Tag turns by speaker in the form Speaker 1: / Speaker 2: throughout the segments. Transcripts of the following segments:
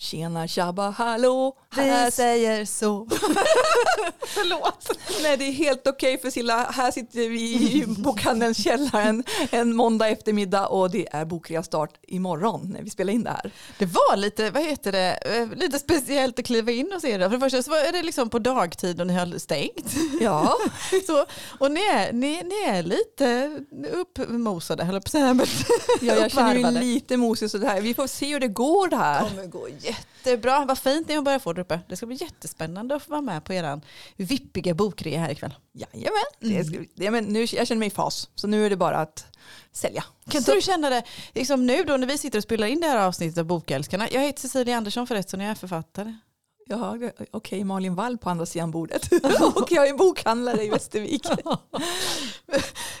Speaker 1: tjena tjabba hallå.
Speaker 2: Vi
Speaker 1: här
Speaker 2: säger så.
Speaker 1: Förlåt. Nej, det är helt okej för Silla. Här sitter vi i bokhandelns källaren en måndag eftermiddag och det är bokrea start imorgon när vi spelar in det här.
Speaker 2: Det var lite, vad heter det, eh, lite speciellt att kliva in hos er. då. För det första så var det liksom på dagtid och ni har stängt.
Speaker 1: Ja,
Speaker 2: Så, och ni är, ni, ni är lite uppmosade, höll jag på att säga. men
Speaker 1: ja jag känner mig
Speaker 2: uppvarvade.
Speaker 1: lite mosig så det här. Vi får se hur det går det här.
Speaker 2: kommer gå jättebra. Vad fint ni har börjat få där uppe. Det ska bli jättespännande att få vara med på er vippiga bokrea här ikväll.
Speaker 1: Jajamän, det ska, ja, men nu, jag känner mig i fas så nu är det bara att sälja.
Speaker 2: Kan inte du känna det liksom nu då när vi sitter och spelar in det här avsnittet av Bokälskarna? Jag heter Cecilia Andersson förresten och jag är författare.
Speaker 1: Ja, det- okej, Malin Wall på andra sidan bordet och jag är bokhandlare i Västervik.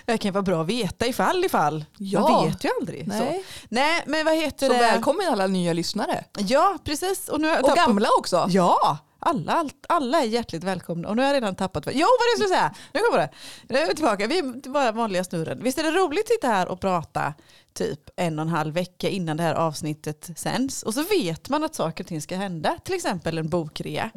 Speaker 2: Det kan vara bra att veta ifall ifall.
Speaker 1: Ja.
Speaker 2: Man vet ju aldrig.
Speaker 1: Nej.
Speaker 2: Så. Nej men vad heter
Speaker 1: Så
Speaker 2: det?
Speaker 1: välkommen alla nya lyssnare
Speaker 2: Ja precis. Och, nu har jag
Speaker 1: och
Speaker 2: tappat-
Speaker 1: gamla också.
Speaker 2: Ja, alla, allt, alla är hjärtligt välkomna. Och nu har jag redan tappat vad... Jo, vad det skulle säga. Nu kommer det. Nu är vi tillbaka. Vi är till bara vanliga snurren. Visst är det roligt att sitta här och prata typ en och en halv vecka innan det här avsnittet sänds. Och så vet man att saker och ting ska hända. Till exempel en bokrea.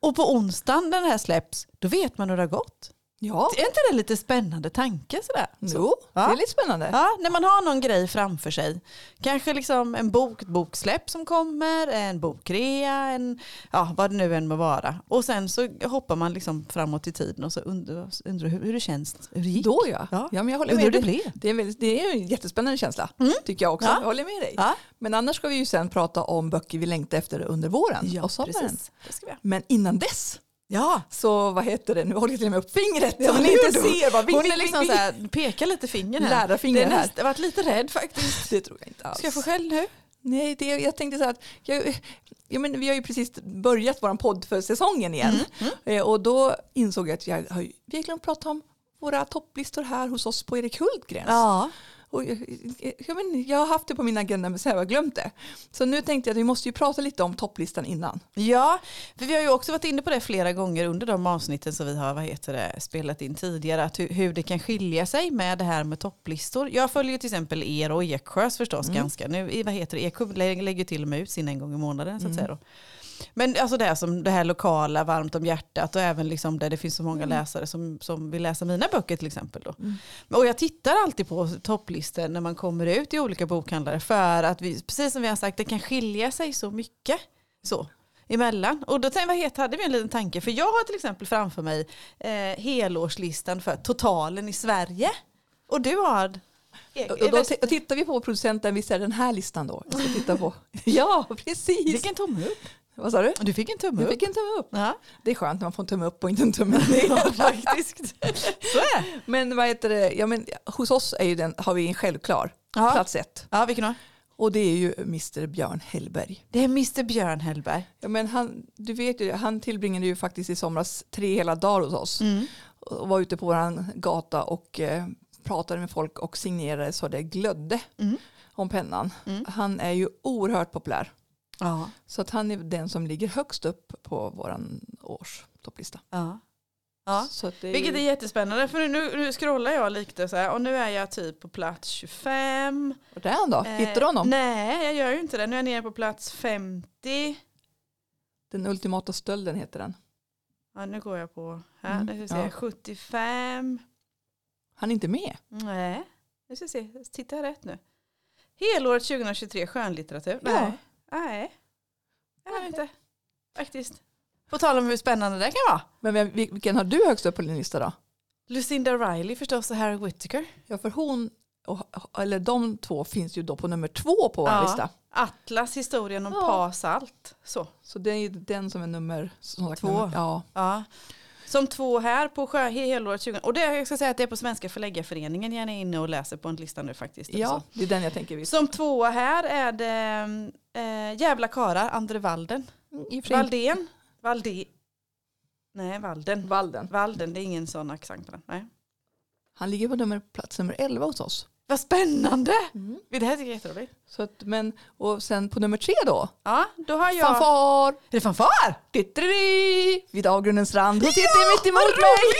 Speaker 2: Och på onsdagen när den här släpps, då vet man hur det har gått.
Speaker 1: Ja,
Speaker 2: Är inte det lite spännande tanke sådär?
Speaker 1: jo, det
Speaker 2: Ja.
Speaker 1: är lite spännande.
Speaker 2: Ja, när man har någon grej framför sig. Kanske liksom en bok, ett boksläpp som kommer, en bokrea, en, ja, vad det nu än må vara. Och sen så hoppar man liksom framåt i tiden och så undrar, undrar hur, hur det känns, hur det gick.
Speaker 1: Då ja. ja.
Speaker 2: Ja.
Speaker 1: men jag håller
Speaker 2: Undrar
Speaker 1: med.
Speaker 2: hur det blev.
Speaker 1: det, Mm. är en väldigt, det är en jättespännande känsla tycker jag också.
Speaker 2: Ja.
Speaker 1: Jag håller med dig.
Speaker 2: Ja.
Speaker 1: Men annars ska vi ju sen prata om böcker vi längtar efter under våren och sommaren.
Speaker 2: Det ska vi göra.
Speaker 1: Men innan dess
Speaker 2: Ja.
Speaker 1: så vad heter det, nu håller jag till och med upp fingret ja,
Speaker 2: Hon
Speaker 1: som ni inte ser. Bara,
Speaker 2: Hon är liksom så här, pekar lite finger här.
Speaker 1: Lärarfinger
Speaker 2: det är
Speaker 1: här.
Speaker 2: näst- Jag har varit lite rädd faktiskt.
Speaker 1: Det tror jag inte alls.
Speaker 2: Ska jag få skäll nu?
Speaker 1: Nej, det, jag tänkte så här att jag, ja, men vi har ju precis börjat vår podd för säsongen igen. Eh, Och då insåg jag att jag har, ju- vi har glömt prata om våra topplistor här hos oss på Erik Hultgrens.
Speaker 2: Ja.
Speaker 1: Och jag, jag, men, jag har haft det på min agenda men så har jag glömt det. Så nu tänkte jag att vi måste ju prata lite om topplistan innan.
Speaker 2: Ja, för vi har ju också varit inne på det flera gånger under de avsnitten som vi har vad heter det, spelat in tidigare. Att hur, hur det kan skilja sig med det här med topplistor. Jag följer ju till exempel er och Eksjös förstås ganska. Nu, i- vad heter det, Eksjö lä- lägger ju till och med ut sin en gång i månaden så att säga. Då. Men alltså det här, som det här lokala, varmt om hjärtat och även liksom där det finns så många läsare som, som vill läsa mina böcker till exempel. Då. Och jag tittar alltid på topplistor när man kommer ut i olika bokhandlare för att vi, precis som vi har sagt, det kan skilja sig så mycket. Så emellan. Och då tänkte, vad heter, hade vi en liten tanke, för jag har till exempel framför mig eh, helårslistan för totalen i Sverige. Och du har...
Speaker 1: Och då t- och tittar vi på producenten, visst är det den här listan då? Jag ska titta på. ja, precis.
Speaker 2: fick en tumme upp.
Speaker 1: Vad sa du?
Speaker 2: Du fick en tumme
Speaker 1: Jag
Speaker 2: upp.
Speaker 1: fick en tumme upp.
Speaker 2: Ja,
Speaker 1: Det är skönt när man får en tumme upp och inte en tumme ner.
Speaker 2: faktiskt. Så är det.
Speaker 1: Men vad heter det? Ja, men, hos oss är ju den, har vi en självklar
Speaker 2: Ja.
Speaker 1: plats ett.
Speaker 2: Ja, vilken då?
Speaker 1: Och det är ju Mr Björn Hellberg.
Speaker 2: Det är Mr Björn Hellberg.
Speaker 1: Ja, men han, du vet ju, han tillbringade ju faktiskt i somras tre hela dagar hos oss.
Speaker 2: Mm.
Speaker 1: Och var ute på vår gata och eh, pratade med folk och signerade så det glödde
Speaker 2: Mm.
Speaker 1: om pennan. Han är ju oerhört populär.
Speaker 2: Ja.
Speaker 1: Så att han är den som ligger högst upp på vår års topplista.
Speaker 2: ja. ja.
Speaker 1: Så att det är
Speaker 2: Vilket är
Speaker 1: ju,
Speaker 2: jättespännande för nu, nu scrollar jag lite så här och nu är jag typ på plats 25.
Speaker 1: Vart är han då?
Speaker 2: Eh,
Speaker 1: Hittar du honom?
Speaker 2: Nej, jag gör ju inte det. Nu är jag nere på plats 50.
Speaker 1: Den ultimata stölden heter den.
Speaker 2: Ja, nu går jag på här.
Speaker 1: Mm,
Speaker 2: Nu ska vi se.
Speaker 1: ja.
Speaker 2: 75.
Speaker 1: Han är inte med.
Speaker 2: Nej, nu ska vi se. Tittar jag rätt nu? Helåret 2023, skönlitteratur.
Speaker 1: Ja.
Speaker 2: Nej. Nej, jag har inte. Faktiskt. På tal om hur spännande det kan vara.
Speaker 1: Men vem, vil- vilken har du högst upp på din lista då?
Speaker 2: Lucinda Riley förstås och Harry Whittaker.
Speaker 1: Ja, för hon, och, eller de två finns ju då på nummer två på vår
Speaker 2: Ja.
Speaker 1: lista.
Speaker 2: Atlas, historien om
Speaker 1: Ja.
Speaker 2: Pasalt. Så.
Speaker 1: Så det är ju den som är nummer som sagt,
Speaker 2: Två.
Speaker 1: Nummer, ja.
Speaker 2: Ja. Som två här på Sjö helåret 20. Och det, jag ska säga att det är på Svenska Förläggarföreningen. Jag är inne och läser på en lista nu faktiskt.
Speaker 1: ja, typ det är den jag tänker. Vi.
Speaker 2: Som tvåa här är det eh, Jävla karar, Andre Walden.
Speaker 1: I och för sig inte-
Speaker 2: Valdén. Valde. Nej, Walden.
Speaker 1: Valden.
Speaker 2: Walden, det är ingen sån accent på den. Nej.
Speaker 1: Han ligger på nummer, plats nummer 11 hos oss.
Speaker 2: Vad spännande! Det här tycker jag är jätteroligt.
Speaker 1: Så att, men, och sen på nummer tre då,
Speaker 2: Ja, då har jag...
Speaker 1: fanfar,
Speaker 2: Är det fanfar?
Speaker 1: ditteridi, vid avgrundens rand. Hon sitter
Speaker 2: Ja,
Speaker 1: mitt emot
Speaker 2: vad
Speaker 1: mig.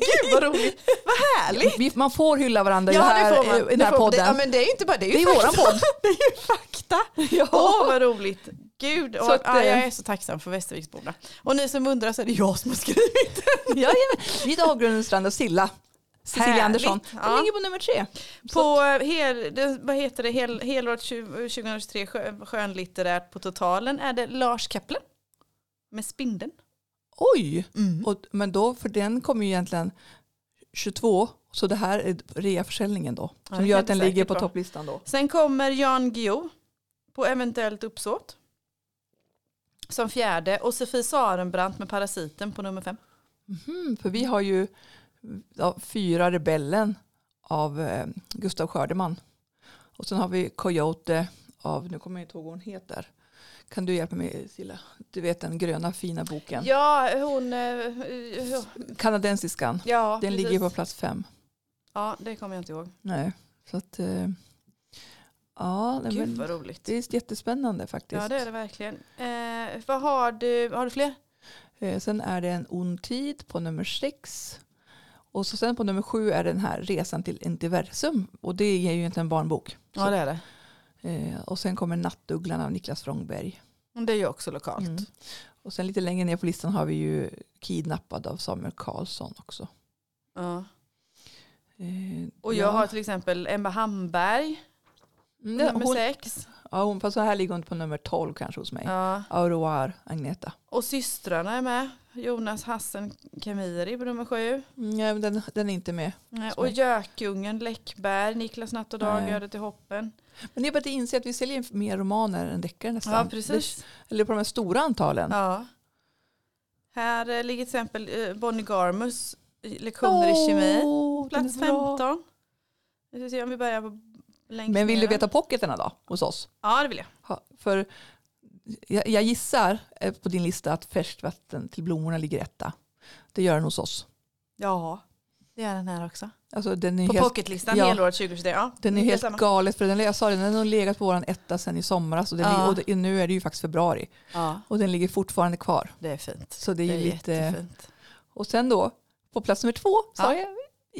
Speaker 2: Gud vad roligt! Vad härligt!
Speaker 1: Vi, man får hylla varandra i,
Speaker 2: Ja,
Speaker 1: här,
Speaker 2: det får man.
Speaker 1: i den
Speaker 2: Det
Speaker 1: här
Speaker 2: får-
Speaker 1: podden.
Speaker 2: Det, ja, men det är ju inte bara det.
Speaker 1: Det är
Speaker 2: ju
Speaker 1: våran
Speaker 2: fakta.
Speaker 1: podd.
Speaker 2: det är ju fakta. Åh,
Speaker 1: Ja.
Speaker 2: vad roligt. Gud, och,
Speaker 1: Så att,
Speaker 2: ja, jag
Speaker 1: eh,
Speaker 2: är så tacksam för Västerviksborna. Och ni som undrar så är det jag som har skrivit.
Speaker 1: Jajamän. Vid Avgrundens strand och Silla. Cecilia
Speaker 2: Härligt.
Speaker 1: Andersson. Den
Speaker 2: Ja.
Speaker 1: ligger på nummer tre.
Speaker 2: Mm, På eh, hel, det, vad heter det, hel, helåret 20- 2023 skö- skönlitterärt på totalen är det Lars Kepler med Spindeln.
Speaker 1: Oj!
Speaker 2: Mm.
Speaker 1: Och, men då, för den kommer ju egentligen 22. Så det här är reaförsäljningen då.
Speaker 2: Ja,
Speaker 1: Som
Speaker 2: det
Speaker 1: gör
Speaker 2: kan
Speaker 1: att den
Speaker 2: det säkert
Speaker 1: ligger på
Speaker 2: vara.
Speaker 1: topplistan då.
Speaker 2: Sen kommer Jan Guillou på Eventuellt uppsåt som fjärde och Sofie Sarenbrant med Parasiten på nummer fem.
Speaker 1: Mm, för vi har ju ja, Fyra rebellen av eh, Gustav Skördeman. Och sen har vi Coyote av, nu kommer jag inte ihåg vad hon heter. Kan du hjälpa mig Silla? Du vet den gröna fina boken.
Speaker 2: Ja, hon... eh,
Speaker 1: Kanadensiskan.
Speaker 2: Ja,
Speaker 1: Den ligger
Speaker 2: precis.
Speaker 1: på plats fem.
Speaker 2: Ja, det kommer jag inte ihåg.
Speaker 1: Nej, så att eh, ja, nej,
Speaker 2: Gud
Speaker 1: men,
Speaker 2: vad roligt.
Speaker 1: det är jättespännande faktiskt.
Speaker 2: Ja, det är det verkligen. Eh, vad har du? Har du fler?
Speaker 1: Eh, sen är det en ond tid på nummer sex. Och så sen på nummer sju är den här resan till Intiversum. Och det är ju inte en barnbok.
Speaker 2: Ja, det är det.
Speaker 1: Eh, och sen kommer Nattugglan av Niklas Frångberg.
Speaker 2: Det är ju också lokalt.
Speaker 1: Mm. Och sen lite längre ner på listan har vi ju Kidnappad av Samuel Karlsson också.
Speaker 2: Ja.
Speaker 1: Eh,
Speaker 2: Och jag
Speaker 1: ja.
Speaker 2: har till exempel Emma Hamberg,
Speaker 1: Mm,
Speaker 2: nummer
Speaker 1: hon,
Speaker 2: sex.
Speaker 1: ja, hon, fast så här ligger hon på nummer 12 kanske hos mig.
Speaker 2: Ja.
Speaker 1: Au revoir, Agneta.
Speaker 2: Och systrarna är med. Jonas Hassen Kamiri på nummer sju.
Speaker 1: Mm, Nej, men den, den är inte med.
Speaker 2: Eh,
Speaker 1: Som
Speaker 2: Och
Speaker 1: är-
Speaker 2: Gökungen Läckberg, Niklas Natt och Dag,
Speaker 1: Nej.
Speaker 2: Ödet till hoppen.
Speaker 1: Men det är bara att inse att vi säljer mer romaner än deckare nästan.
Speaker 2: Ja, precis.
Speaker 1: Det- Eller på de här stora antalen.
Speaker 2: Ja. Här eh, ligger till exempel eh, Bonnie Garmus eh, lektioner i kemi.
Speaker 1: Åh, den är
Speaker 2: Plats
Speaker 1: bra.
Speaker 2: 15. Vi ska se om vi börjar på längst
Speaker 1: Men vill
Speaker 2: ner
Speaker 1: du
Speaker 2: då.
Speaker 1: veta pocketerna då hos oss?
Speaker 2: Ja, det vill jag.
Speaker 1: Ha- För jag, jag gissar eh, på din lista att färskvatten till blommorna ligger etta. Det gör den hos oss.
Speaker 2: Ja, det gör den här också.
Speaker 1: Alltså, den är
Speaker 2: På
Speaker 1: helt,
Speaker 2: pocketlistan
Speaker 1: ja.
Speaker 2: helåret 2023. Ja,
Speaker 1: den är
Speaker 2: det
Speaker 1: helt
Speaker 2: samma.
Speaker 1: galet. För den, jag sa det, den har legat på vår etta sedan i somras. Och, den,
Speaker 2: Ja.
Speaker 1: ligger- och det, nu är det ju faktiskt februari.
Speaker 2: Ja,
Speaker 1: Och den ligger fortfarande kvar.
Speaker 2: det är fint.
Speaker 1: Så det är, ju lite...
Speaker 2: jättefint.
Speaker 1: Och sen då, på plats nummer två, sa
Speaker 2: Ja.
Speaker 1: jag,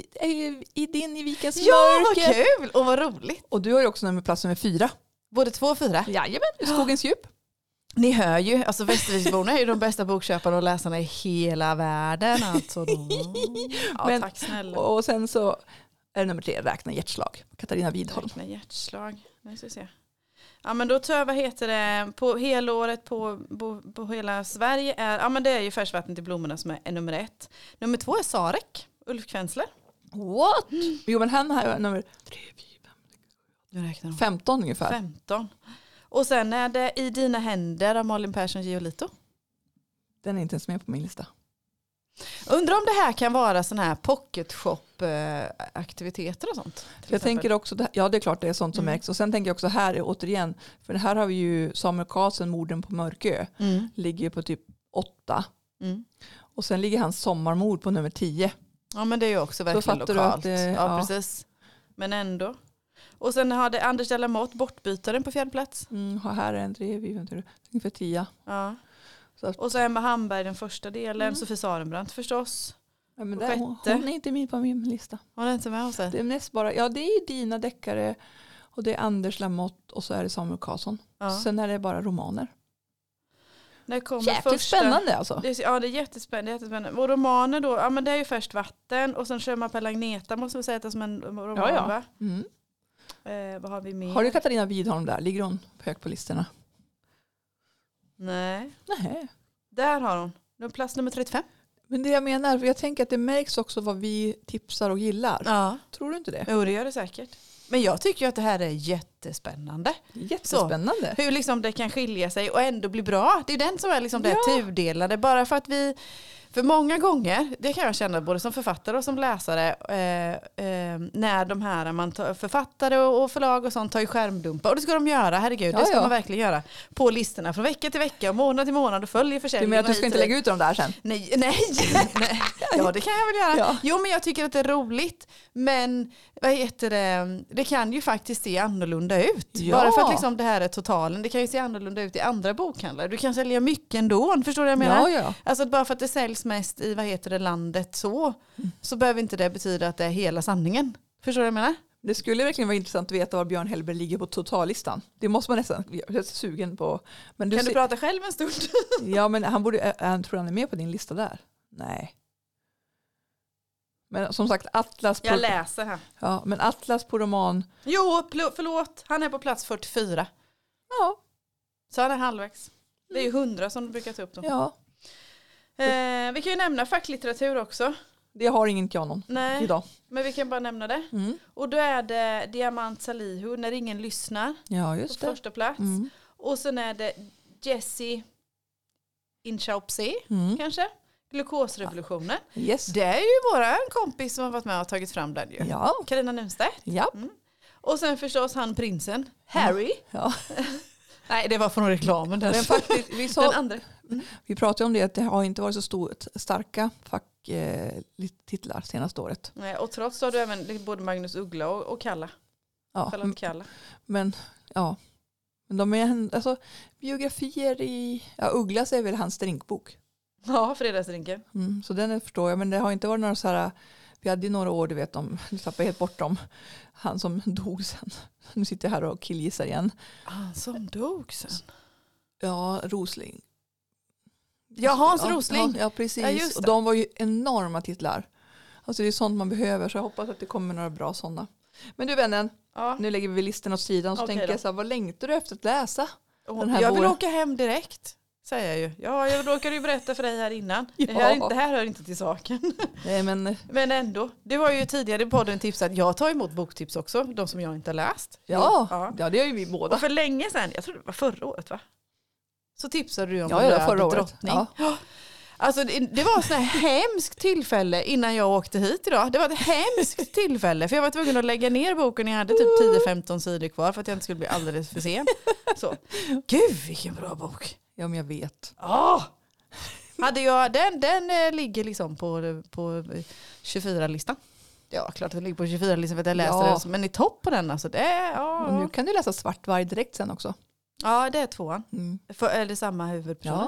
Speaker 1: i- är ju i din i vikens
Speaker 2: Ja, vad
Speaker 1: mörker.
Speaker 2: kul och vad roligt.
Speaker 1: Och du har ju också nummer plats nummer fyra.
Speaker 2: Både två och fyra.
Speaker 1: Jajamän, i skogens djup.
Speaker 2: Ni hör ju, alltså Västerviksborna är ju de bästa bokköparna och läsarna i hela världen. Alltså de... ja,
Speaker 1: Men-
Speaker 2: tack snälla.
Speaker 1: Och sen så är det nummer tre, Räkna hjärtslag, Katarina Widholm.
Speaker 2: Räkna hjärtslag. Nu ska vi se. Ja men då tror jag, vad heter det, på helåret på, på, på hela Sverige är, ja men det är ju Färsvatten till blommorna som är, är nummer ett. Nummer två är Sarek, Ulf Kvensler.
Speaker 1: What? Jo men han här är nummer tre, fyra,
Speaker 2: Nu räknar hon.
Speaker 1: 15 ungefär.
Speaker 2: 15. Och sen är det I dina händer av Malin Persson Giolito.
Speaker 1: Den är inte ens med på min lista.
Speaker 2: Undrar om det här kan vara sån här pocket shop-aktiviteter och sånt. till
Speaker 1: Jag
Speaker 2: exempel.
Speaker 1: tänker också, det- ja det är klart det är sånt som
Speaker 2: Mm.
Speaker 1: märks. Och sen tänker jag också här är återigen, för det här har vi ju Samuel Karlsson, Morden på Mörkö,
Speaker 2: Mm.
Speaker 1: ligger på typ åtta.
Speaker 2: Mm.
Speaker 1: Och sen ligger hans Sommarmord på nummer tio.
Speaker 2: Ja men det är ju också verkligen
Speaker 1: fattar du
Speaker 2: lokalt.
Speaker 1: att det-
Speaker 2: ja,
Speaker 1: ja.
Speaker 2: precis. Men ändå. Och sen har det Anders de la Motte, Bortbytaren på fjärde plats.
Speaker 1: Mm, och här är en tre, fyra, fem, tre, ungefär tia.
Speaker 2: Ja.
Speaker 1: Så att-
Speaker 2: Och så Emma Hamberg den första delen,
Speaker 1: Mm.
Speaker 2: Sofie Sarenbrant förstås.
Speaker 1: Ja, men
Speaker 2: Och
Speaker 1: där, hon,
Speaker 2: sjätte.
Speaker 1: hon är inte med på min lista.
Speaker 2: Hon är inte med oss här.
Speaker 1: Det är mest bara, ja det är ju dina deckare och det är Anders Lamotte och så är det Samuel Karlsson.
Speaker 2: Ja.
Speaker 1: Sen är det bara romaner.
Speaker 2: När kommer
Speaker 1: Jäkligt
Speaker 2: första-
Speaker 1: spännande alltså.
Speaker 2: Det är, ja det är jättespännande, jättespännande. Och romaner då, ja men det är ju först vatten och sen kör man på Lagneta måste man säga att det är som en roman
Speaker 1: Ja, ja.
Speaker 2: va?
Speaker 1: Mm.
Speaker 2: Eh, vad har vi mer?
Speaker 1: Har du Katarina Widholm där? Ligger hon högt på listorna?
Speaker 2: Nej,
Speaker 1: Nej.
Speaker 2: där har hon. Nu är Plats nummer 35.
Speaker 1: Men det jag menar, för jag tänker att det märks också vad vi tipsar och gillar.
Speaker 2: Ja.
Speaker 1: Tror du inte det?
Speaker 2: Jo det gör det säkert. Men jag tycker ju att det här är jättespännande.
Speaker 1: Jättespännande.
Speaker 2: Hur liksom det kan skilja sig och ändå bli bra. Det är den som är liksom det
Speaker 1: Ja.
Speaker 2: tudelade. Bara för att vi, för många gånger, det kan jag känna både som författare och som läsare, eh, eh, när de här man tar, författare och och förlag och sånt tar ju skärmdumpar. Och det ska de göra, herregud.
Speaker 1: Ja,
Speaker 2: det ska
Speaker 1: ja.
Speaker 2: man verkligen göra. På listorna från vecka till vecka och månad till månad och följer
Speaker 1: Du
Speaker 2: försäljningen.
Speaker 1: menar att
Speaker 2: och
Speaker 1: du ska
Speaker 2: hit
Speaker 1: inte
Speaker 2: och dit.
Speaker 1: lägga ut dem där sen?
Speaker 2: Nej, nej, nej. Ja, det kan jag väl göra.
Speaker 1: Ja.
Speaker 2: Jo, men jag tycker att det är roligt. Men vad heter det? det kan ju faktiskt se annorlunda ut.
Speaker 1: Ja.
Speaker 2: Bara för att liksom det här är totalen. Det kan ju se annorlunda ut i andra bokhandlar. Du kan sälja mycket ändå. Förstår du vad jag
Speaker 1: Ja,
Speaker 2: menar?
Speaker 1: ja.
Speaker 2: Alltså att bara för att det säljs mest Mm. i vad heter det, landet så, så behöver inte det betyda att det är hela sanningen. Förstår du vad jag menar?
Speaker 1: Det skulle verkligen vara intressant att veta var Björn Hellberg ligger på totallistan. Det måste man nästan, jag är sugen på. Men
Speaker 2: Kan du
Speaker 1: ser-
Speaker 2: prata själv en stund?
Speaker 1: Ja, men han borde, ä- han tror han är med på din lista där? Nej. Men som sagt, Atlas på,
Speaker 2: Jag läser här.
Speaker 1: ja, men Atlas på roman,
Speaker 2: Jo, pl- förlåt. Han är på plats 44.
Speaker 1: ja,
Speaker 2: Så han är halvvägs. Det är ju 100 som du brukar ta upp då.
Speaker 1: ja
Speaker 2: Eh, vi kan ju nämna facklitteratur också.
Speaker 1: det har ingen kanon
Speaker 2: Nej,
Speaker 1: idag.
Speaker 2: men vi kan bara nämna det.
Speaker 1: Mm.
Speaker 2: Och då är det Diamant Salihu, När ingen lyssnar,
Speaker 1: Ja,
Speaker 2: på
Speaker 1: just det.
Speaker 2: första plats.
Speaker 1: Mm.
Speaker 2: Och sen är det Jesse Inchaupsi,
Speaker 1: Mm.
Speaker 2: kanske. Glukosrevolutionen.
Speaker 1: Yes.
Speaker 2: Det är ju vår kompis som har varit med och tagit fram den ju.
Speaker 1: Ja,
Speaker 2: Carina Nunstedt.
Speaker 1: ja.
Speaker 2: Och sen förstås han prinsen, Harry.
Speaker 1: ja.
Speaker 2: Mm. Nej, det var från reklamen. Den,
Speaker 1: Men faktiskt, vi,
Speaker 2: den
Speaker 1: sa,
Speaker 2: andra.
Speaker 1: vi pratade om det att det har inte varit så stor, starka facktitlar senaste året.
Speaker 2: Nej, och trots det har du även både Magnus Uggla och, och Kalla.
Speaker 1: Ja,
Speaker 2: Charlotte Kalla.
Speaker 1: Men ja, men de är, alltså, biografier i, ja, Ugglas är väl hans drinkbok.
Speaker 2: Ja, fredagsdrinken.
Speaker 1: Mm, så den förstår jag, men det har inte varit några så här, vi hade ju några år, du vet, om, du tappade helt bort dem, han som dog sen. Nu sitter jag här och killgissar igen.
Speaker 2: Han Ah, som dog sen.
Speaker 1: Ja, Rosling.
Speaker 2: Ja, Hans Rosling.
Speaker 1: Ja, ja precis.
Speaker 2: Ja, just det.
Speaker 1: och de var ju enorma titlar. Alltså det är sånt man behöver, så jag hoppas att det kommer några bra sådana. Men du vännen,
Speaker 2: Ja.
Speaker 1: nu lägger vi listan åt sidan så
Speaker 2: Okej
Speaker 1: tänker
Speaker 2: då.
Speaker 1: jag så här, vad längtar du efter att läsa?
Speaker 2: Och
Speaker 1: Den här
Speaker 2: jag vill
Speaker 1: våren.
Speaker 2: åka hem direkt. Säger jag ju. Ja, jag råkade ju berätta för dig här innan. Det, här,
Speaker 1: Ja.
Speaker 2: är inte- det här hör inte till saken.
Speaker 1: Nej, men
Speaker 2: Men ändå. Du har ju tidigare i podden tipsat. Jag tar emot boktips också. De som jag inte har läst.
Speaker 1: Ja,
Speaker 2: Ja.
Speaker 1: ja. det är ju vi båda.
Speaker 2: Och för länge sedan, jag tror det var förra året va? Så tipsade du om
Speaker 1: Ja, ja,
Speaker 2: Röd
Speaker 1: förra året.
Speaker 2: drottning.
Speaker 1: Ja.
Speaker 2: Ja. Alltså det, det var ett sånt här hemskt tillfälle innan jag åkte hit idag. Det var ett hemskt tillfälle för jag var tvungen att lägga ner boken. Jag hade typ 10-15 sidor kvar för att jag inte skulle bli alldeles för sen. Så. Gud vilken bra bok.
Speaker 1: Ja, men jag vet.
Speaker 2: Oh! Hade jag, den, den eh, ligger liksom på, på 24-listan. Ja, klart att den ligger på 24-listan för att jag läste
Speaker 1: Ja.
Speaker 2: den. så- Men i topp på den alltså. Det, är- ja.
Speaker 1: Och nu kan du läsa Svartvarg direkt sen också.
Speaker 2: ja, det är tvåan.
Speaker 1: Mm.
Speaker 2: För, är det samma huvudperson?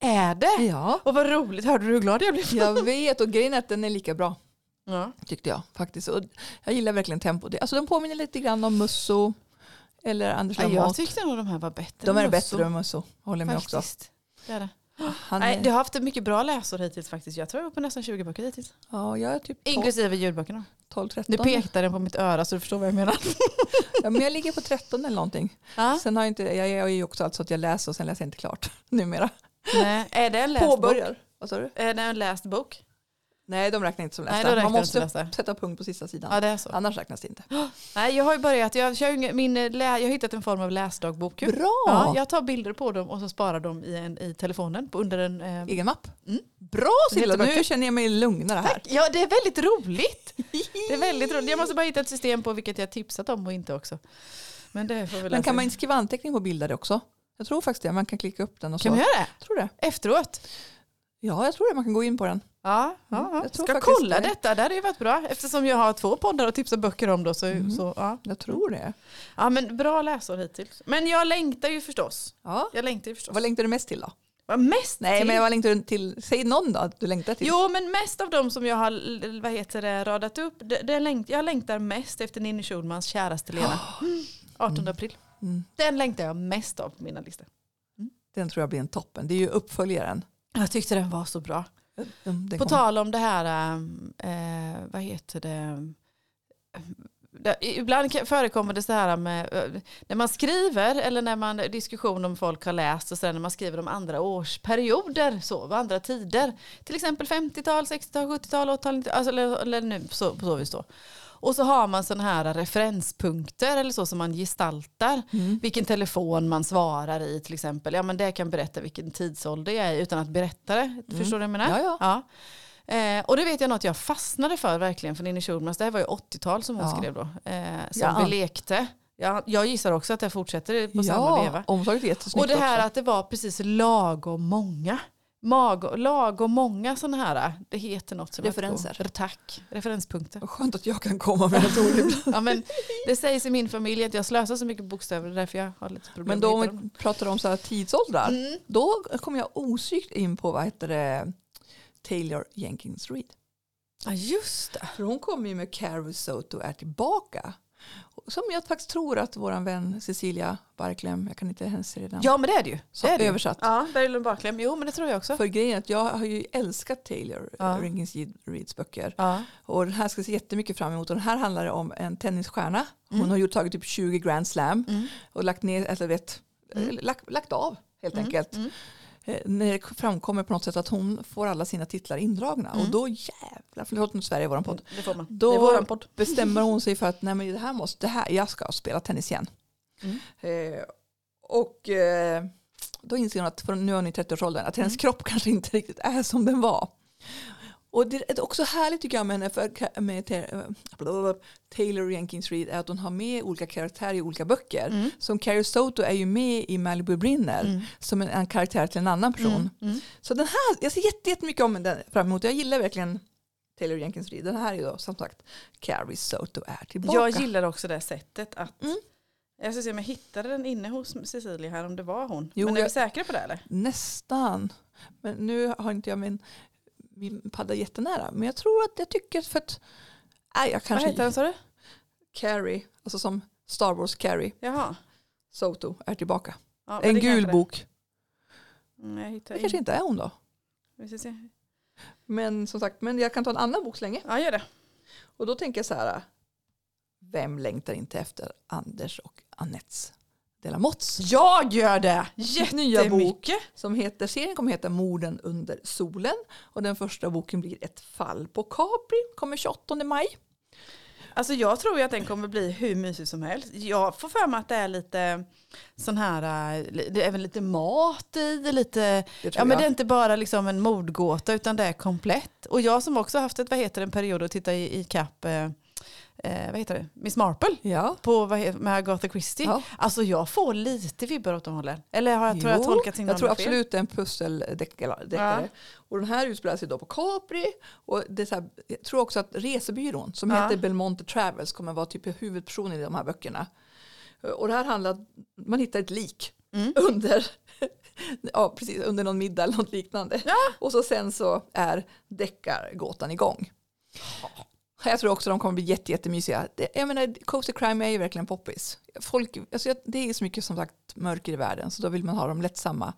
Speaker 1: Ja.
Speaker 2: Är det?
Speaker 1: ja,
Speaker 2: Och vad roligt, hörde du hur glad jag blev?
Speaker 1: jag vet. Och grejen är att den är lika bra,
Speaker 2: Ja.
Speaker 1: tyckte jag faktiskt. Och jag gillar verkligen tempo. Det- Alltså, de påminner lite grann om Musso eller Anders
Speaker 2: jag
Speaker 1: Lamotte.
Speaker 2: tyckte nog de här var bättre.
Speaker 1: De är
Speaker 2: än
Speaker 1: bättre
Speaker 2: Musso,
Speaker 1: än Musso, håller med också. Ah,
Speaker 2: faktiskt. Det är det.
Speaker 1: Han,
Speaker 2: Nej,
Speaker 1: är-
Speaker 2: du har haft ett mycket bra läsår hittills faktiskt. Jag tror jag var på nästan 20 böcker hittills.
Speaker 1: Ja, jag är typ
Speaker 2: Inklusive ljudböckerna.
Speaker 1: 12-13.
Speaker 2: Nu pekar den på mitt öra så du förstår vad jag menar.
Speaker 1: Ja, men jag ligger på 13 eller någonting.
Speaker 2: Ja.
Speaker 1: Sen har jag inte, jag jag är ju också alltså att jag läser och sen läser jag inte klart numera.
Speaker 2: Nej. Är det en läst bok?
Speaker 1: Påbörjar. Vad sa du?
Speaker 2: Är det en läst bok?
Speaker 1: Nej, de räknar inte som
Speaker 2: Nej,
Speaker 1: lästa.
Speaker 2: då räknar
Speaker 1: Man
Speaker 2: de som
Speaker 1: måste
Speaker 2: lästa.
Speaker 1: sätta punkt på sista sidan.
Speaker 2: Ja, det är så.
Speaker 1: Annars räknas det inte.
Speaker 2: Nej, jag har ju börjat. Jag, kör ju ingen- min, eh, lä, jag har hittat en form av läsdagbok. ju.
Speaker 1: Bra!
Speaker 2: Ja, jag tar bilder på dem och så sparar dem i, en, i telefonen på, under en eh,
Speaker 1: Egen mapp.
Speaker 2: Mm.
Speaker 1: Bra Silla,
Speaker 2: Vet du,
Speaker 1: nu känner jag mig lugnare här.
Speaker 2: Ja, det är väldigt roligt. Det är väldigt roligt. Jag måste bara hitta ett system på vilket jag tipsat om och inte också. Men det får vi
Speaker 1: Men
Speaker 2: läsa.
Speaker 1: kan man inte skriva anteckning på bilder också? Jag tror faktiskt det, man kan klicka upp den och så.
Speaker 2: kan man göra det?
Speaker 1: tror det.
Speaker 2: Efteråt?
Speaker 1: Ja, jag tror det, man kan gå in på den.
Speaker 2: Ja, ja, ja.
Speaker 1: Mm, jag tror
Speaker 2: ska
Speaker 1: faktiskt
Speaker 2: kolla
Speaker 1: det.
Speaker 2: detta. Det hade ju varit bra. Eftersom jag har två poddar och tipsar böcker om då. Så,
Speaker 1: Mm.
Speaker 2: så, ja.
Speaker 1: Jag tror det.
Speaker 2: ja, men bra läsår hittills. Men jag längtar ju förstås.
Speaker 1: Ja.
Speaker 2: Jag längtar ju förstås.
Speaker 1: Vad längtar du mest till då?
Speaker 2: Vad mest
Speaker 1: Nej,
Speaker 2: till?
Speaker 1: men vad längtar du till? Säg någon då att du längtar till.
Speaker 2: Jo, men mest av dem som jag har l- vad heter det, radat upp. Det, det längt, jag längtar mest efter Ninni Schulmans Käraste Lena. 18 april.
Speaker 1: Mm.
Speaker 2: Den längtar jag mest av på mina listor.
Speaker 1: Den tror jag blir en toppen. Det är ju uppföljaren.
Speaker 2: Jag tyckte den var så bra.
Speaker 1: Den
Speaker 2: På
Speaker 1: kommer.
Speaker 2: tal om det här, ähm, eh, vad heter det? Det- Ibland kan- förekommer det så här med, eh, när man skriver eller när man diskussion om folk har läst och sen när man skriver om andra årsperioder, så, va, andra tider. Till exempel 50-tal, 60-tal, 70-tal, 80-tal, 90-tal, alltså, eller, eller nu så, på så vis då. Och så har man sådana här referenspunkter eller så som man gestaltar.
Speaker 1: Mm.
Speaker 2: Vilken telefon man svarar i till exempel. Ja men det kan berätta vilken tidsålder jag är i utan att berätta det. Förstår du vad jag menar?
Speaker 1: Mm. Ja, ja.
Speaker 2: Ja. Eh, och det vet jag något jag fastnade för verkligen för Ninni Schulmans. Det här var ju 80-tal som hon
Speaker 1: Ja.
Speaker 2: skrev då. Eh, som
Speaker 1: Ja.
Speaker 2: vi lekte. Jag, jag gissar också att det fortsätter på samma veva.
Speaker 1: Ja, omslaget är jättesnyggt
Speaker 2: Och det här
Speaker 1: också.
Speaker 2: att det var precis lagom många. Mag, lagom många sådana här, det heter något som jag inte
Speaker 1: Referenser.
Speaker 2: kommer- Tack, referenspunkter.
Speaker 1: Vad skönt att jag kan komma med ett ord ibland.
Speaker 2: Ja, men det sägs i min familj att jag slösar så mycket bokstäver, det är därför jag har lite problem
Speaker 1: Men då
Speaker 2: med
Speaker 1: om
Speaker 2: dem.
Speaker 1: vi pratar om så här tidsåldrar,
Speaker 2: Mm.
Speaker 1: då kommer jag osökt in på vad heter det, Taylor Jenkins Reid.
Speaker 2: Ja, just det.
Speaker 1: För hon kommer ju med Carousel och är tillbaka. Som jag faktiskt tror att vår vän Cecilia Barklem, jag kan inte hennes redan,
Speaker 2: Ja men det är det ju.
Speaker 1: så
Speaker 2: Det är det ju.
Speaker 1: översatt.
Speaker 2: Ja, Berglund Barklem. Jo men det tror jag också.
Speaker 1: För grejen är att jag har ju älskat Taylor,
Speaker 2: Ja.
Speaker 1: ja. Rankings Reeds böcker.
Speaker 2: Ja.
Speaker 1: Och den här ska jag se jättemycket fram emot. Och den här handlar om en tennisstjärna. Hon
Speaker 2: Mm.
Speaker 1: har gjort, tagit typ 20 grand slam och lagt ner, alltså vet,
Speaker 2: Mm.
Speaker 1: lagt, lagt av helt enkelt. Eh, När det framkommer på något sätt att hon får alla sina titlar indragna. Och då jävlar, förlåt nu Sverige i våran podd.
Speaker 2: Mm. Det får man.
Speaker 1: Då
Speaker 2: det är våran podd.
Speaker 1: bestämmer hon sig för att nej men det här måste, det här, jag ska spela tennis igen.
Speaker 2: Mm.
Speaker 1: Eh, och eh, då inser hon att från nu är hon i 30-årsåldern att
Speaker 2: Mm.
Speaker 1: hennes kropp kanske inte riktigt är som den var. Och det är också härligt tycker jag med, henne för, med eh, Ta- blablabla, Taylor Jenkins Reid är att hon har med olika karaktärer i olika böcker.
Speaker 2: Mm.
Speaker 1: Som Carrie Soto är ju med i Malibu brinner som en, en karaktär till en annan person.
Speaker 2: Mm.
Speaker 1: Så den här, jag ser jätte- jättemycket om den fram emot. Jag gillar verkligen Taylor Jenkins Reid. Den här är ju då som sagt Carrie Soto är tillbaka.
Speaker 2: Jag gillar också det sättet att
Speaker 1: Mm.
Speaker 2: jag ska se om jag hittade den inne hos Cecilia här om det var hon.
Speaker 1: Jo,
Speaker 2: men är vi
Speaker 1: jag-
Speaker 2: säkra på det eller?
Speaker 1: Nästan. Men nu har inte jag min, min padda jättenära. Men jag tror att jag tycker för att... Nej, jag
Speaker 2: Vad
Speaker 1: kanske...
Speaker 2: heter den sa du?
Speaker 1: Carrie, alltså som Star Wars Carrie,
Speaker 2: Jaha.
Speaker 1: Soto är tillbaka.
Speaker 2: Ja, men
Speaker 1: en
Speaker 2: det kanske
Speaker 1: gul
Speaker 2: det.
Speaker 1: bok.
Speaker 2: Mm, jag hittar
Speaker 1: Det kanske
Speaker 2: inte.
Speaker 1: inte är hon då.
Speaker 2: Vi ska se.
Speaker 1: Men som sagt, men jag kan ta en annan bok så länge.
Speaker 2: Ja, gör det.
Speaker 1: Och då tänker jag så här. Vem längtar inte efter Anders och Annettes Delamottes?
Speaker 2: Jag gör det!
Speaker 1: Nya bok
Speaker 2: Jättemycket.
Speaker 1: som heter, serien kommer heta Morden under solen. Och den första boken blir Ett fall på Capri. Kommer 28 maj.
Speaker 2: Alltså jag tror ju att den kommer bli hur mysig som helst. Jag får för mig att det är lite sån här, eh, li- det är väl lite mat i, lite,
Speaker 1: Det tror
Speaker 2: ja men
Speaker 1: jag.
Speaker 2: det är inte bara liksom en mordgåta utan det är komplett. Och jag som också haft ett, vad heter det, en period att titta i, i kapp, eh, eh, vad heter det, Miss Marple.
Speaker 1: Ja.
Speaker 2: På, vad he- med Agatha Christie.
Speaker 1: Ja.
Speaker 2: Alltså jag får lite vibbar åt de hållen. Eller har jag, tror jag
Speaker 1: Jo,
Speaker 2: tolkat sin
Speaker 1: Jag tror absolut det är en pusseldeckare.
Speaker 2: Ja.
Speaker 1: Och den här utspelar sig då på Capri. Och det är så här, jag tror också att resebyrån som
Speaker 2: Ja.
Speaker 1: heter Belmonte Travels kommer vara typ huvudpersonen i de här böckerna. Och det här handlar man hittar ett lik
Speaker 2: Mm.
Speaker 1: under, ja, precis, under någon middag eller något liknande. Och så sen så är deckargåtan igång. Jag tror också de kommer bli jätte, jättemysiga. Det, jag menar, Cozy Crime är ju verkligen poppis. Folk, alltså, jag- det är så mycket som sagt mörker i världen så då vill man ha de lättsamma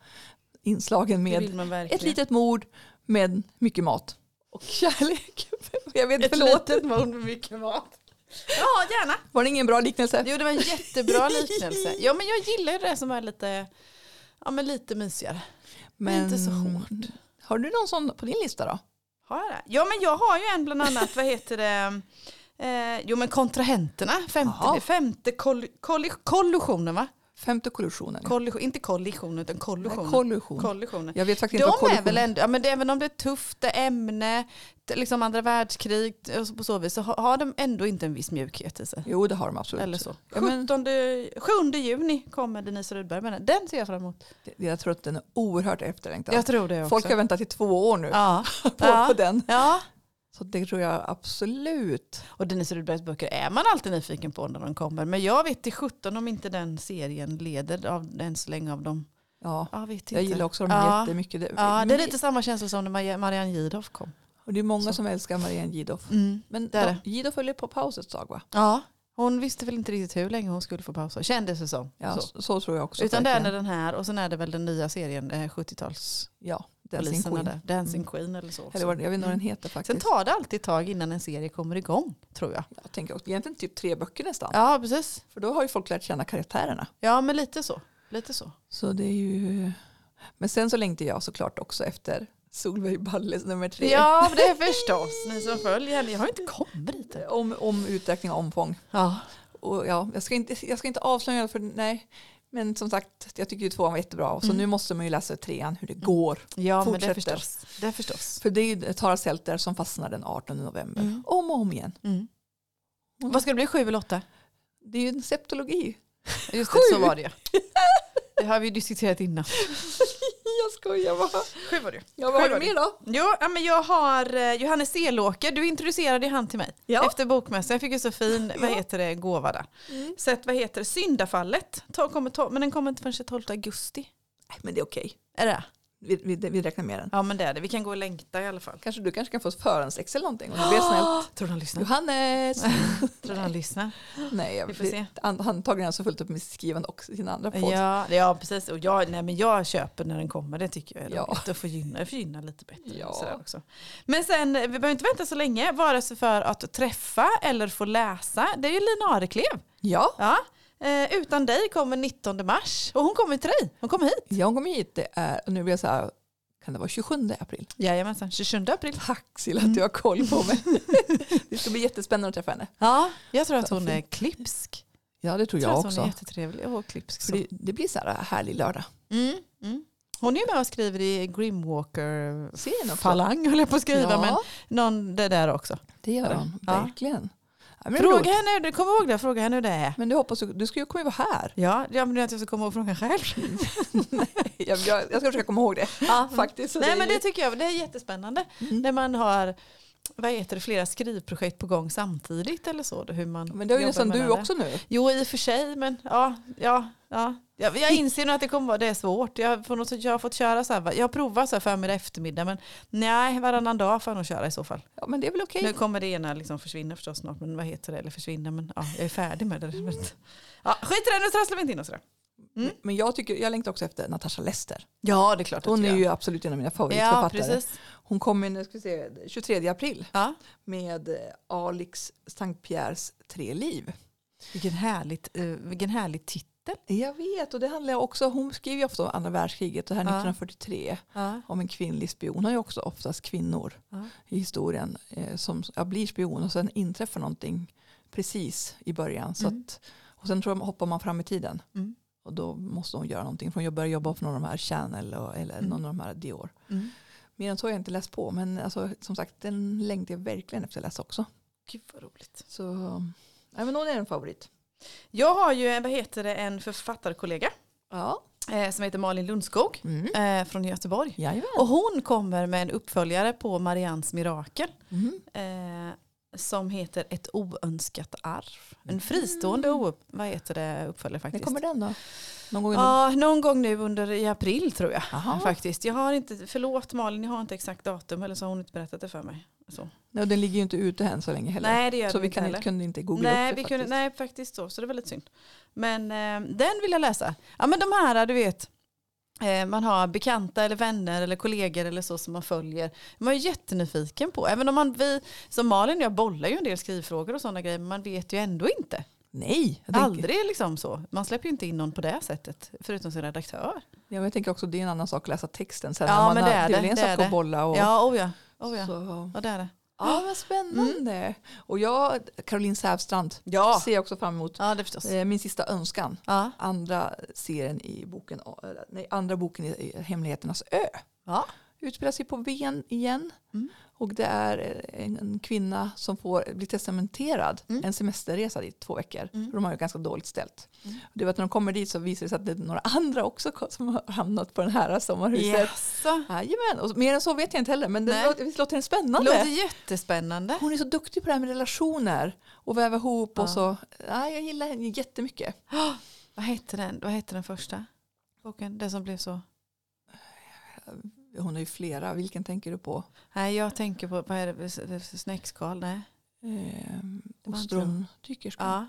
Speaker 1: inslagen
Speaker 2: Det vill
Speaker 1: med
Speaker 2: man verkligen.
Speaker 1: ett litet mord med mycket mat och kärlek. Jag vet,
Speaker 2: ett
Speaker 1: förlåt,
Speaker 2: litet mord med mycket mat. Ja, gärna.
Speaker 1: var det ingen bra liknelse?
Speaker 2: Jo, det var en jättebra liknelse. Ja, men jag gillar ju det som är lite, ja, men lite mysigare. Men inte så hårt.
Speaker 1: Har du någon sån på din lista då?
Speaker 2: Har jag det? Ja, men jag har ju en bland annat, vad heter det? Eh, jo, men kontrahenterna. Femte,
Speaker 1: Jaha.
Speaker 2: femte koll, koll, kollusionen, va?
Speaker 1: Femte kollisionen.
Speaker 2: Kollusion, inte kollision, utan kollusionen.
Speaker 1: Nej, kollision.
Speaker 2: kollusionen.
Speaker 1: Jag vet faktiskt inte vad
Speaker 2: De är
Speaker 1: kollision
Speaker 2: väl ändå, ja, men det, även om det är tufft, det är ämne, det, är liksom andra världskrig och så- på så vis, så har, har de ändå inte en viss mjukhet i sig.
Speaker 1: Jo, det har de absolut.
Speaker 2: Eller så.
Speaker 1: Ja, men,
Speaker 2: 17, 7 juni kommer Denise Rudberg med den. Den ser jag fram emot.
Speaker 1: jag tror att den är oerhört efterlängtad.
Speaker 2: Jag tror det också.
Speaker 1: Folk har väntat i två år nu
Speaker 2: ja.
Speaker 1: på,
Speaker 2: Ja.
Speaker 1: på den.
Speaker 2: ja.
Speaker 1: Så det tror jag absolut.
Speaker 2: Och Denise Rudbergs böcker är man alltid nyfiken på när de kommer. Men jag vet till 17 om inte den serien leder av, än så länge av dem.
Speaker 1: Ja.
Speaker 2: Ja, vet inte.
Speaker 1: Jag gillar också dem
Speaker 2: Ja.
Speaker 1: jättemycket. Det,
Speaker 2: Ja,
Speaker 1: men
Speaker 2: det är lite samma känsla som när Maja- Marianne Jihdoff kom.
Speaker 1: och det är många
Speaker 2: så. Mm.
Speaker 1: som älskar Marianne Jihdoff. Men
Speaker 2: det är
Speaker 1: de- Jihdoff höll ju på paus ett tag va?
Speaker 2: Ja, hon visste väl inte riktigt hur länge hon skulle få pausa. Kändes det som.
Speaker 1: Ja,
Speaker 2: så.
Speaker 1: så. så tror jag också.
Speaker 2: Utan det är när
Speaker 1: verkligen.
Speaker 2: den här och sen är det väl den nya serien, eh, 70-tals.
Speaker 1: Ja, Dancing
Speaker 2: poliserna
Speaker 1: Queen. Mm.
Speaker 2: där. Dancing Queen eller så. också. Mm.
Speaker 1: Eller vad, jag vet inte vad den heter
Speaker 2: Sen
Speaker 1: faktiskt.
Speaker 2: tar det alltid ett tag innan en serie kommer igång, tror jag.
Speaker 1: jag tänker också, egentligen typ tre böcker nästan.
Speaker 2: Ja, precis.
Speaker 1: För då har ju folk lärt känna karaktärerna.
Speaker 2: Ja, men lite så. Lite så.
Speaker 1: Så det är ju... Men sen så längtar jag såklart också efter Solveig Balles nummer tre.
Speaker 2: Ja, det är förstås. Ni som följer henne. Jag har inte kommit dit än.
Speaker 1: Om, om utökning av omfång.
Speaker 2: Ja.
Speaker 1: Och ja, jag, ska inte, jag ska inte avslöja för nej. Men som sagt, jag tycker ju tvåan var jättebra. Så nu måste man ju läsa trean hur det går.
Speaker 2: Mm. Ja, men det är
Speaker 1: Fortsätter.
Speaker 2: förstås. Det är förstås.
Speaker 1: För det är ju Tara Selter som fastnar den 18 november. Om och om igen.
Speaker 2: Mm. Vad ska det bli, sju eller åtta?
Speaker 1: Det är ju en septologi.
Speaker 2: Just
Speaker 1: Sju.
Speaker 2: det, så var det ju. Det har vi ju diskuterat innan.
Speaker 1: jag skojar bara.
Speaker 2: Sju var det
Speaker 1: Ja, vad har
Speaker 2: Själv
Speaker 1: du
Speaker 2: har
Speaker 1: mer då?
Speaker 2: Jo, ja, men jag har eh, Johannes Selåker. Du introducerade ju han till mig
Speaker 1: Ja.
Speaker 2: efter bokmässan. Jag fick ju så fin vad heter det, gåva där. Så att, vad heter det, Syndafallet. Ta, kommer, ta, men den kommer inte förrän 12 augusti.
Speaker 1: Nej, men det är okej.
Speaker 2: Är det?
Speaker 1: Vi, vi, vi räknar med den.
Speaker 2: Ja men det är det. Vi kan gå och längta i alla fall.
Speaker 1: Kanske du kanske kan få förhands-excel någonting om du blir snäll.
Speaker 2: Tror du han lyssnar?
Speaker 1: Johannes!
Speaker 2: Tror du han lyssnar?
Speaker 1: Nej, jag,
Speaker 2: Vi får se.
Speaker 1: an- antagligen är han så fullt upp med sitt skrivande och sin andra podd.
Speaker 2: Ja, ja precis. Och jag, nej, men jag köper när den kommer. Det tycker jag är
Speaker 1: Ja.
Speaker 2: roligt. Då får gynna, det får gynna lite bättre. och
Speaker 1: Ja.
Speaker 2: sådär Också. Men sen, vi behöver inte vänta så länge. Vare sig för att träffa eller få läsa. Det är ju Lina Areklev.
Speaker 1: Ja.
Speaker 2: Ja. Eh, utan dig kommer 19 mars. Och hon kommer till dig. Hon kommer hit.
Speaker 1: Ja, hon kommer hit. Det är, och nu blir jag så här, kan det vara 27 april? Mm.
Speaker 2: Jajamensan, 27 april.
Speaker 1: Tack Silla att du har koll på mig. det ska bli jättespännande att träffa henne.
Speaker 2: Ja, jag tror att
Speaker 1: Vad
Speaker 2: hon är klipsk.
Speaker 1: Ja, det tror
Speaker 2: Jag
Speaker 1: jag,
Speaker 2: tror att hon är
Speaker 1: också.
Speaker 2: jättetrevlig och klipsk.
Speaker 1: För
Speaker 2: Så.
Speaker 1: det, det blir så här härlig lördag.
Speaker 2: Mm, mm. Hon är ju med och skriver i Grimwalker
Speaker 1: Serien också.
Speaker 2: falang höll jag på att skriva.
Speaker 1: ja,
Speaker 2: Men någon, det där också.
Speaker 1: det gör hon.
Speaker 2: Ja.
Speaker 1: Verkligen. Ja, men,
Speaker 2: Fråga
Speaker 1: roligt.
Speaker 2: henne, hur det- kom ihåg det, fråga henne hur det är.
Speaker 1: men du hoppas du, du ska ju komma ju vara här.
Speaker 2: Ja, ja men det är att jag ska komma ihåg frågan själv.
Speaker 1: Jag, jag, jag ska försöka komma ihåg det faktiskt.
Speaker 2: Mm. Nej men det tycker jag, det är jättespännande.
Speaker 1: Mm.
Speaker 2: När man har vad heter det, flera skrivprojekt på gång samtidigt eller så. då, Hur man
Speaker 1: men det är ju
Speaker 2: jobbar
Speaker 1: nästan
Speaker 2: med
Speaker 1: du
Speaker 2: varandra.
Speaker 1: också nu.
Speaker 2: Jo i och för sig men ja, ja, ja. Jag, jag inser nog att det kommer vara det är svårt. Jag, får nog, jag har fått köra så här, va- jag har provat så här förmiddag eftermiddag men nej varannan dag får jag nog köra i så fall.
Speaker 1: Ja, men det är väl okej.
Speaker 2: Nu kommer det ena liksom försvinna förstås snart, men vad heter det? Eller försvinna, men ja, jag är färdig med det. Men- Ja, skit i det, nu trasslar vi inte in oss i det. Mm.
Speaker 1: Men jag, tycker, jag längtar också efter Natasha Lester.
Speaker 2: Ja, det är klart
Speaker 1: Hon är ju absolut en av mina
Speaker 2: Ja,
Speaker 1: favoritförfattare.
Speaker 2: precis.
Speaker 1: Hon kommer nu ska vi se, 23 april
Speaker 2: Ja.
Speaker 1: med eh, Alex Sankt Pierres tre liv.
Speaker 2: Vilken, härligt, eh, vilken härlig titel.
Speaker 1: Jag vet och det handlar också, hon skriver ju ofta om andra världskriget och här
Speaker 2: Ja.
Speaker 1: 1943
Speaker 2: Ja.
Speaker 1: om en kvinnlig spion. Hon är ju också oftast kvinnor
Speaker 2: Ja.
Speaker 1: i historien eh, som ja, blir spion och sen inträffar någonting precis i början. Så
Speaker 2: Mm.
Speaker 1: att, och sen tror jag, hoppar man fram i tiden
Speaker 2: Mm.
Speaker 1: och då måste hon göra någonting. För hon börjar jobba för någon av de här Chanel och, eller
Speaker 2: Mm.
Speaker 1: någon av de här Dior.
Speaker 2: Mm.
Speaker 1: Mer än så har jag inte läst på men alltså, som sagt den längtar jag verkligen efter att läsa också.
Speaker 2: Gud vad roligt.
Speaker 1: Så ja, men hon är en favorit.
Speaker 2: Jag har ju en, vad heter det, en författarkollega
Speaker 1: Ja.
Speaker 2: eh, som heter Malin Lundskog
Speaker 1: Mm.
Speaker 2: eh, från Göteborg.
Speaker 1: Jajamän.
Speaker 2: Och hon kommer med en uppföljare på Marians mirakel.
Speaker 1: Mm.
Speaker 2: eh, som heter Ett oönskat arv. En fristående o- vad heter Mm. det, uppföljare
Speaker 1: När
Speaker 2: faktiskt.
Speaker 1: kommer den då? Någon gång under...
Speaker 2: Ja, någon gång nu under i april tror jag.
Speaker 1: Aha.
Speaker 2: Faktiskt. Jag har inte, förlåt Malin, jag har inte exakt datum eller så har hon inte berättat det för mig. Så.
Speaker 1: Nej, och den ligger ju inte ute än så länge heller.
Speaker 2: Nej, det gör
Speaker 1: så
Speaker 2: den
Speaker 1: vi
Speaker 2: inte
Speaker 1: kan,
Speaker 2: heller.
Speaker 1: inte- kunde inte googla
Speaker 2: Nej,
Speaker 1: upp det
Speaker 2: vi kunde,
Speaker 1: faktiskt.
Speaker 2: nej, faktiskt så, så det var lite synd. Men eh, den vill jag läsa. Ja, men de här, du vet, eh, man har bekanta eller vänner eller kollegor eller så som man följer. Man är jättenyfiken på, även om man, vi, som Malin och jag bollar ju en del skrivfrågor och sådana grejer, men man vet ju ändå inte.
Speaker 1: Nej, jag tänker,
Speaker 2: Aldrig liksom så. Man släpper ju inte in någon på det sättet, förutom sin redaktör.
Speaker 1: Ja, men jag tänker också det är en annan sak att läsa texten sen.
Speaker 2: Ja,
Speaker 1: när man
Speaker 2: men
Speaker 1: har,
Speaker 2: det är
Speaker 1: det är
Speaker 2: det,
Speaker 1: väl en
Speaker 2: det är
Speaker 1: sak
Speaker 2: det.
Speaker 1: att bolla och...
Speaker 2: Ja, Ah. oh ja. Oh ja.
Speaker 1: Så.
Speaker 2: Ja, det är det.
Speaker 1: ja, vad spännande. Och jag, Caroline Säfstrand,
Speaker 2: Mm. Ja,
Speaker 1: ser jag också fram emot.
Speaker 2: ja det förstås.
Speaker 1: Eh, Min sista önskan.
Speaker 2: Ja.
Speaker 1: Andra serien i boken, eh, nej, andra boken i- i Hemligheternas ö.
Speaker 2: Ja.
Speaker 1: utspelar sig på Ven igen.
Speaker 2: Mm.
Speaker 1: Och det är eh, en, en kvinna som får bli testamenterad en semesterresa dit två veckor.
Speaker 2: Mm.
Speaker 1: De har ju ganska dåligt ställt. Det var att när de kommer dit så visar det sig att det är några andra också ko- som har hamnat på det här sommarhuset.
Speaker 2: Jaså?
Speaker 1: Jajamän, och mer än så vet jag inte heller men det
Speaker 2: Nej.
Speaker 1: låter, visst låter den spännande.
Speaker 2: Låter jättespännande.
Speaker 1: Hon är så duktig på det här med relationer och väva ihop
Speaker 2: Ja.
Speaker 1: och så. Ja, jag gillar henne jättemycket.
Speaker 2: Vad hette den, vad hette den första boken? Den som blev så...
Speaker 1: Hon har ju flera, vilken tänker du på?
Speaker 2: Nej, jag tänker på, vad är det, snäckskal? Nej.
Speaker 1: Eh,
Speaker 2: var inte hon.
Speaker 1: Ostrondykerskan.
Speaker 2: Ja.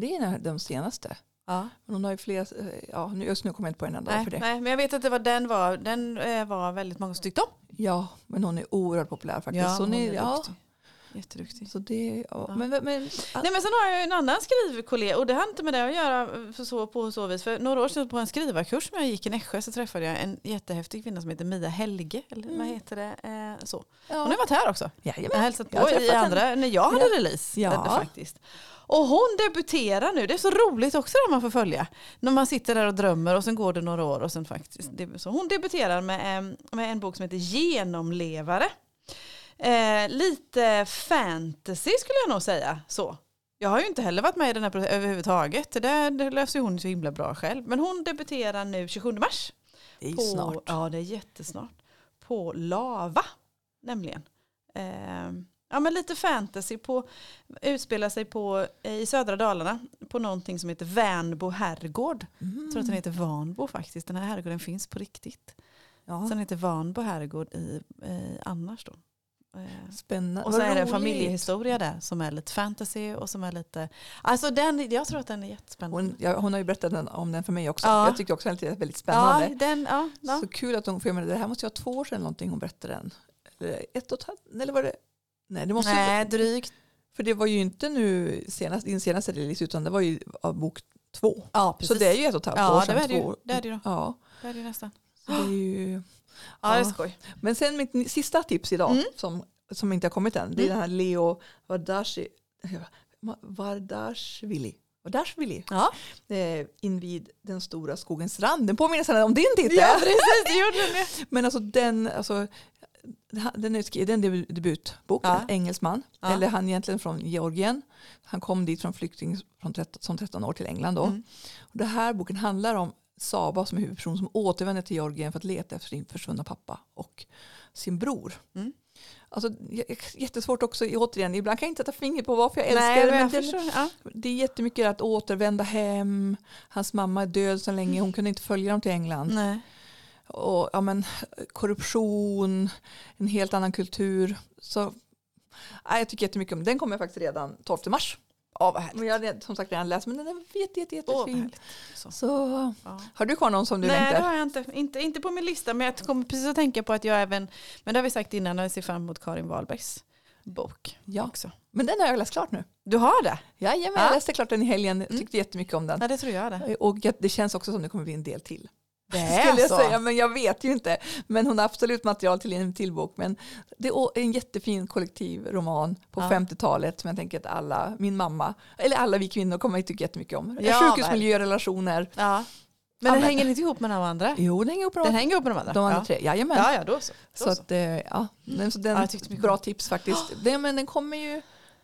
Speaker 1: Det är en av de senaste.
Speaker 2: ja.
Speaker 1: Men hon har ju flera, eh, ja nu- just nu kommer jag inte på en enda
Speaker 2: Nej,
Speaker 1: för det.
Speaker 2: nej, men jag vet att det var den var, den eh, var väldigt många som tyckte om.
Speaker 1: Ja, men hon är oerhört populär faktiskt. så hon är, ja,
Speaker 2: duktig. Jätteduktig.
Speaker 1: så det, ja.
Speaker 2: Ja.
Speaker 1: Men, men, men,
Speaker 2: Nej men sen har jag ju en annan skrivkollega och det har inte med det att göra för så, på så vis. För några år sedan på en skrivarkurs som jag gick i Nässjö så träffade jag en jättehäftig kvinna som heter Mia Helge. Eller
Speaker 1: Mm.
Speaker 2: vad heter det? Eh, så. Hon har
Speaker 1: ja.
Speaker 2: varit här också. Jag har
Speaker 1: Jajamän.
Speaker 2: hälsat
Speaker 1: Jag har
Speaker 2: på i
Speaker 1: träffat
Speaker 2: andra, när jag hade release.
Speaker 1: Ja.
Speaker 2: hade det faktiskt. Och hon debuterar nu, det är så roligt också när man får följa. När man sitter där och drömmer och sen går det några år. Och sen faktiskt, det, så hon debuterar med, em, med en bok som heter Genomlevare. Eh, lite fantasy skulle jag nog säga. Så. Jag har ju inte heller varit med i den här processen överhuvudtaget. Det, där, det löser ju hon så himla bra själv. Men hon debuterar nu 27 mars.
Speaker 1: Det är ju
Speaker 2: På,
Speaker 1: snart.
Speaker 2: Ja, det är jättesnart. På Lava, nämligen. Ehm, ja, men lite fantasy på, utspelar sig på, eh, i södra Dalarna på någonting som heter
Speaker 1: Mm.
Speaker 2: Värnbo herrgård. Jag tror att den heter Vanbo faktiskt. Den här herrgården finns på riktigt.
Speaker 1: Ja.
Speaker 2: Sen heter Vanbo herrgård i, eh, annars då. Eh,
Speaker 1: Spännande.
Speaker 2: Och
Speaker 1: Vad
Speaker 2: så är det en
Speaker 1: roligt.
Speaker 2: familjehistoria där som är lite fantasy och som är lite... Alltså den, jag tror att den är jättespännande.
Speaker 1: Hon, ja, hon har ju berättat den, om den för mig också.
Speaker 2: Ja.
Speaker 1: Jag tyckte också att den lät väldigt spännande.
Speaker 2: Ja, den, ja, ja.
Speaker 1: Så kul att hon, för jag menar, det här måste ju vara två år sedan någonting hon berättade den. Eller ett och ett halvt, eller var det? Nej, det måste ju-
Speaker 2: Nej, drygt.
Speaker 1: För det var ju inte nu senast, din senaste release utan det var ju av bok två.
Speaker 2: Ja, precis.
Speaker 1: Så det är ju ett och ett halvt
Speaker 2: ja,
Speaker 1: år
Speaker 2: det
Speaker 1: sedan.
Speaker 2: är det
Speaker 1: två
Speaker 2: ju.
Speaker 1: år.
Speaker 2: Det är det ju då.
Speaker 1: Ja,
Speaker 2: Det är det ju nästan.
Speaker 1: så det är ju...
Speaker 2: Ja, det
Speaker 1: Ja.
Speaker 2: är skoj.
Speaker 1: Men sen mitt ni- sista tips idag
Speaker 2: Mm.
Speaker 1: som, som inte har kommit än. Det är
Speaker 2: Mm.
Speaker 1: den här Leo Vardashi, Vardashvili. Vardashvili.
Speaker 2: Ja.
Speaker 1: Eh, invid den stora skogens rand. Den påminner sen om din titel.
Speaker 2: Ja, precis. Det gjorde den ju.
Speaker 1: Men alltså den, alltså, den är, skri- det är en debu- debutbok,
Speaker 2: Ja.
Speaker 1: en engelsman.
Speaker 2: Ja.
Speaker 1: Eller han är egentligen från Georgien. Han kom dit från flykting från 13, som 13 år till England då.
Speaker 2: Mm.
Speaker 1: Och den här boken handlar om Saba som är huvudperson som återvänder till Georgien för att leta efter sin försvunna pappa och sin bror.
Speaker 2: Mm.
Speaker 1: Alltså, j- jättesvårt också, återigen, ibland kan jag inte sätta finger på varför jag älskar
Speaker 2: Nej,
Speaker 1: det. Men
Speaker 2: men jag
Speaker 1: den,
Speaker 2: förstår. Ja.
Speaker 1: det är jättemycket att återvända hem. Hans mamma är död så länge, hon kunde inte följa dem till England
Speaker 2: Nej.
Speaker 1: och ja, men, korruption, en helt annan kultur. Så, nej, jag tycker jättemycket om den. Den kommer jag faktiskt redan 12 mars.
Speaker 2: Ja, vad härligt.
Speaker 1: Men jag har redan- som sagt redan läst men den är jätte, jätte,
Speaker 2: Åh, vad
Speaker 1: jättefin.
Speaker 2: härligt.
Speaker 1: så,
Speaker 2: Ja.
Speaker 1: har du kvar någon som du
Speaker 2: Nej, det
Speaker 1: längtar?
Speaker 2: har jag inte. inte. Inte på min lista, men jag kommer precis att tänka på att jag även, men det har vi sagt innan, jag ser fram emot Karin Wahlbergs bok
Speaker 1: Ja.
Speaker 2: också.
Speaker 1: Men den har jag läst klart nu.
Speaker 2: Du har det?
Speaker 1: Jajamän,
Speaker 2: Ja.
Speaker 1: jag läste klart den i helgen. Jag tyckte jättemycket om den.
Speaker 2: Ja, det tror jag det.
Speaker 1: Och jag- det känns också som det kommer bli en del till.
Speaker 2: Det
Speaker 1: Skulle jag säga, men jag vet ju inte. Men hon har absolut material till en till bok. Men det är en jättefin kollektivroman på
Speaker 2: Ja.
Speaker 1: 50-talet som jag tänker att alla, min mamma, eller alla vi kvinnor kommer att tycka jättemycket om.
Speaker 2: Ja,
Speaker 1: Sjukhusmiljö, relationer.
Speaker 2: Ja.
Speaker 1: Ja,
Speaker 2: Men den
Speaker 1: men-
Speaker 2: hänger inte ihop med de andra?
Speaker 1: Jo, den hänger ihop med
Speaker 2: Den
Speaker 1: de-
Speaker 2: hänger ihop med de andra?
Speaker 1: de andra
Speaker 2: ja.
Speaker 1: tre. Jajamän.
Speaker 2: Ja, ja, då så. Då
Speaker 1: Så att, eh, ja. Men så den,
Speaker 2: Ja, jag tyckte mycket
Speaker 1: bra
Speaker 2: om.
Speaker 1: tips faktiskt. Den, men den kommer ju,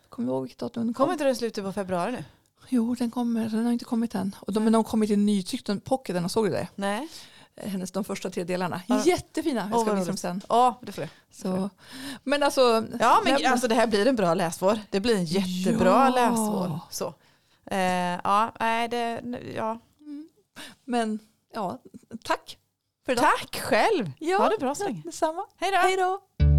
Speaker 1: kommer du ihåg vilket datum den
Speaker 2: Kommer
Speaker 1: kommer?
Speaker 2: inte den i slutet på februari nu?
Speaker 1: Jo, den kommer, den har inte kommit än. Och de, men de har kommit i nytryck, den pocketen, såg du det?
Speaker 2: Nej.
Speaker 1: Hennes, de första tre delarna.
Speaker 2: Ja.
Speaker 1: Jättefina, jag
Speaker 2: Åh,
Speaker 1: ska visa
Speaker 2: vad
Speaker 1: dem
Speaker 2: roligt.
Speaker 1: sen.
Speaker 2: Ja, det får jag.
Speaker 1: Så. Men alltså,
Speaker 2: Ja,
Speaker 1: Nej,
Speaker 2: men
Speaker 1: men-
Speaker 2: alltså det här blir en bra läsvår. Det blir en jättebra
Speaker 1: Ja.
Speaker 2: läsvår. Så. Eh, ja, nej, det, ja.
Speaker 1: Men ja, tack. Bra.
Speaker 2: Tack själv.
Speaker 1: Ja.
Speaker 2: Ha det bra så länge.
Speaker 1: Detsamma.
Speaker 2: Hej då.
Speaker 1: Hej då.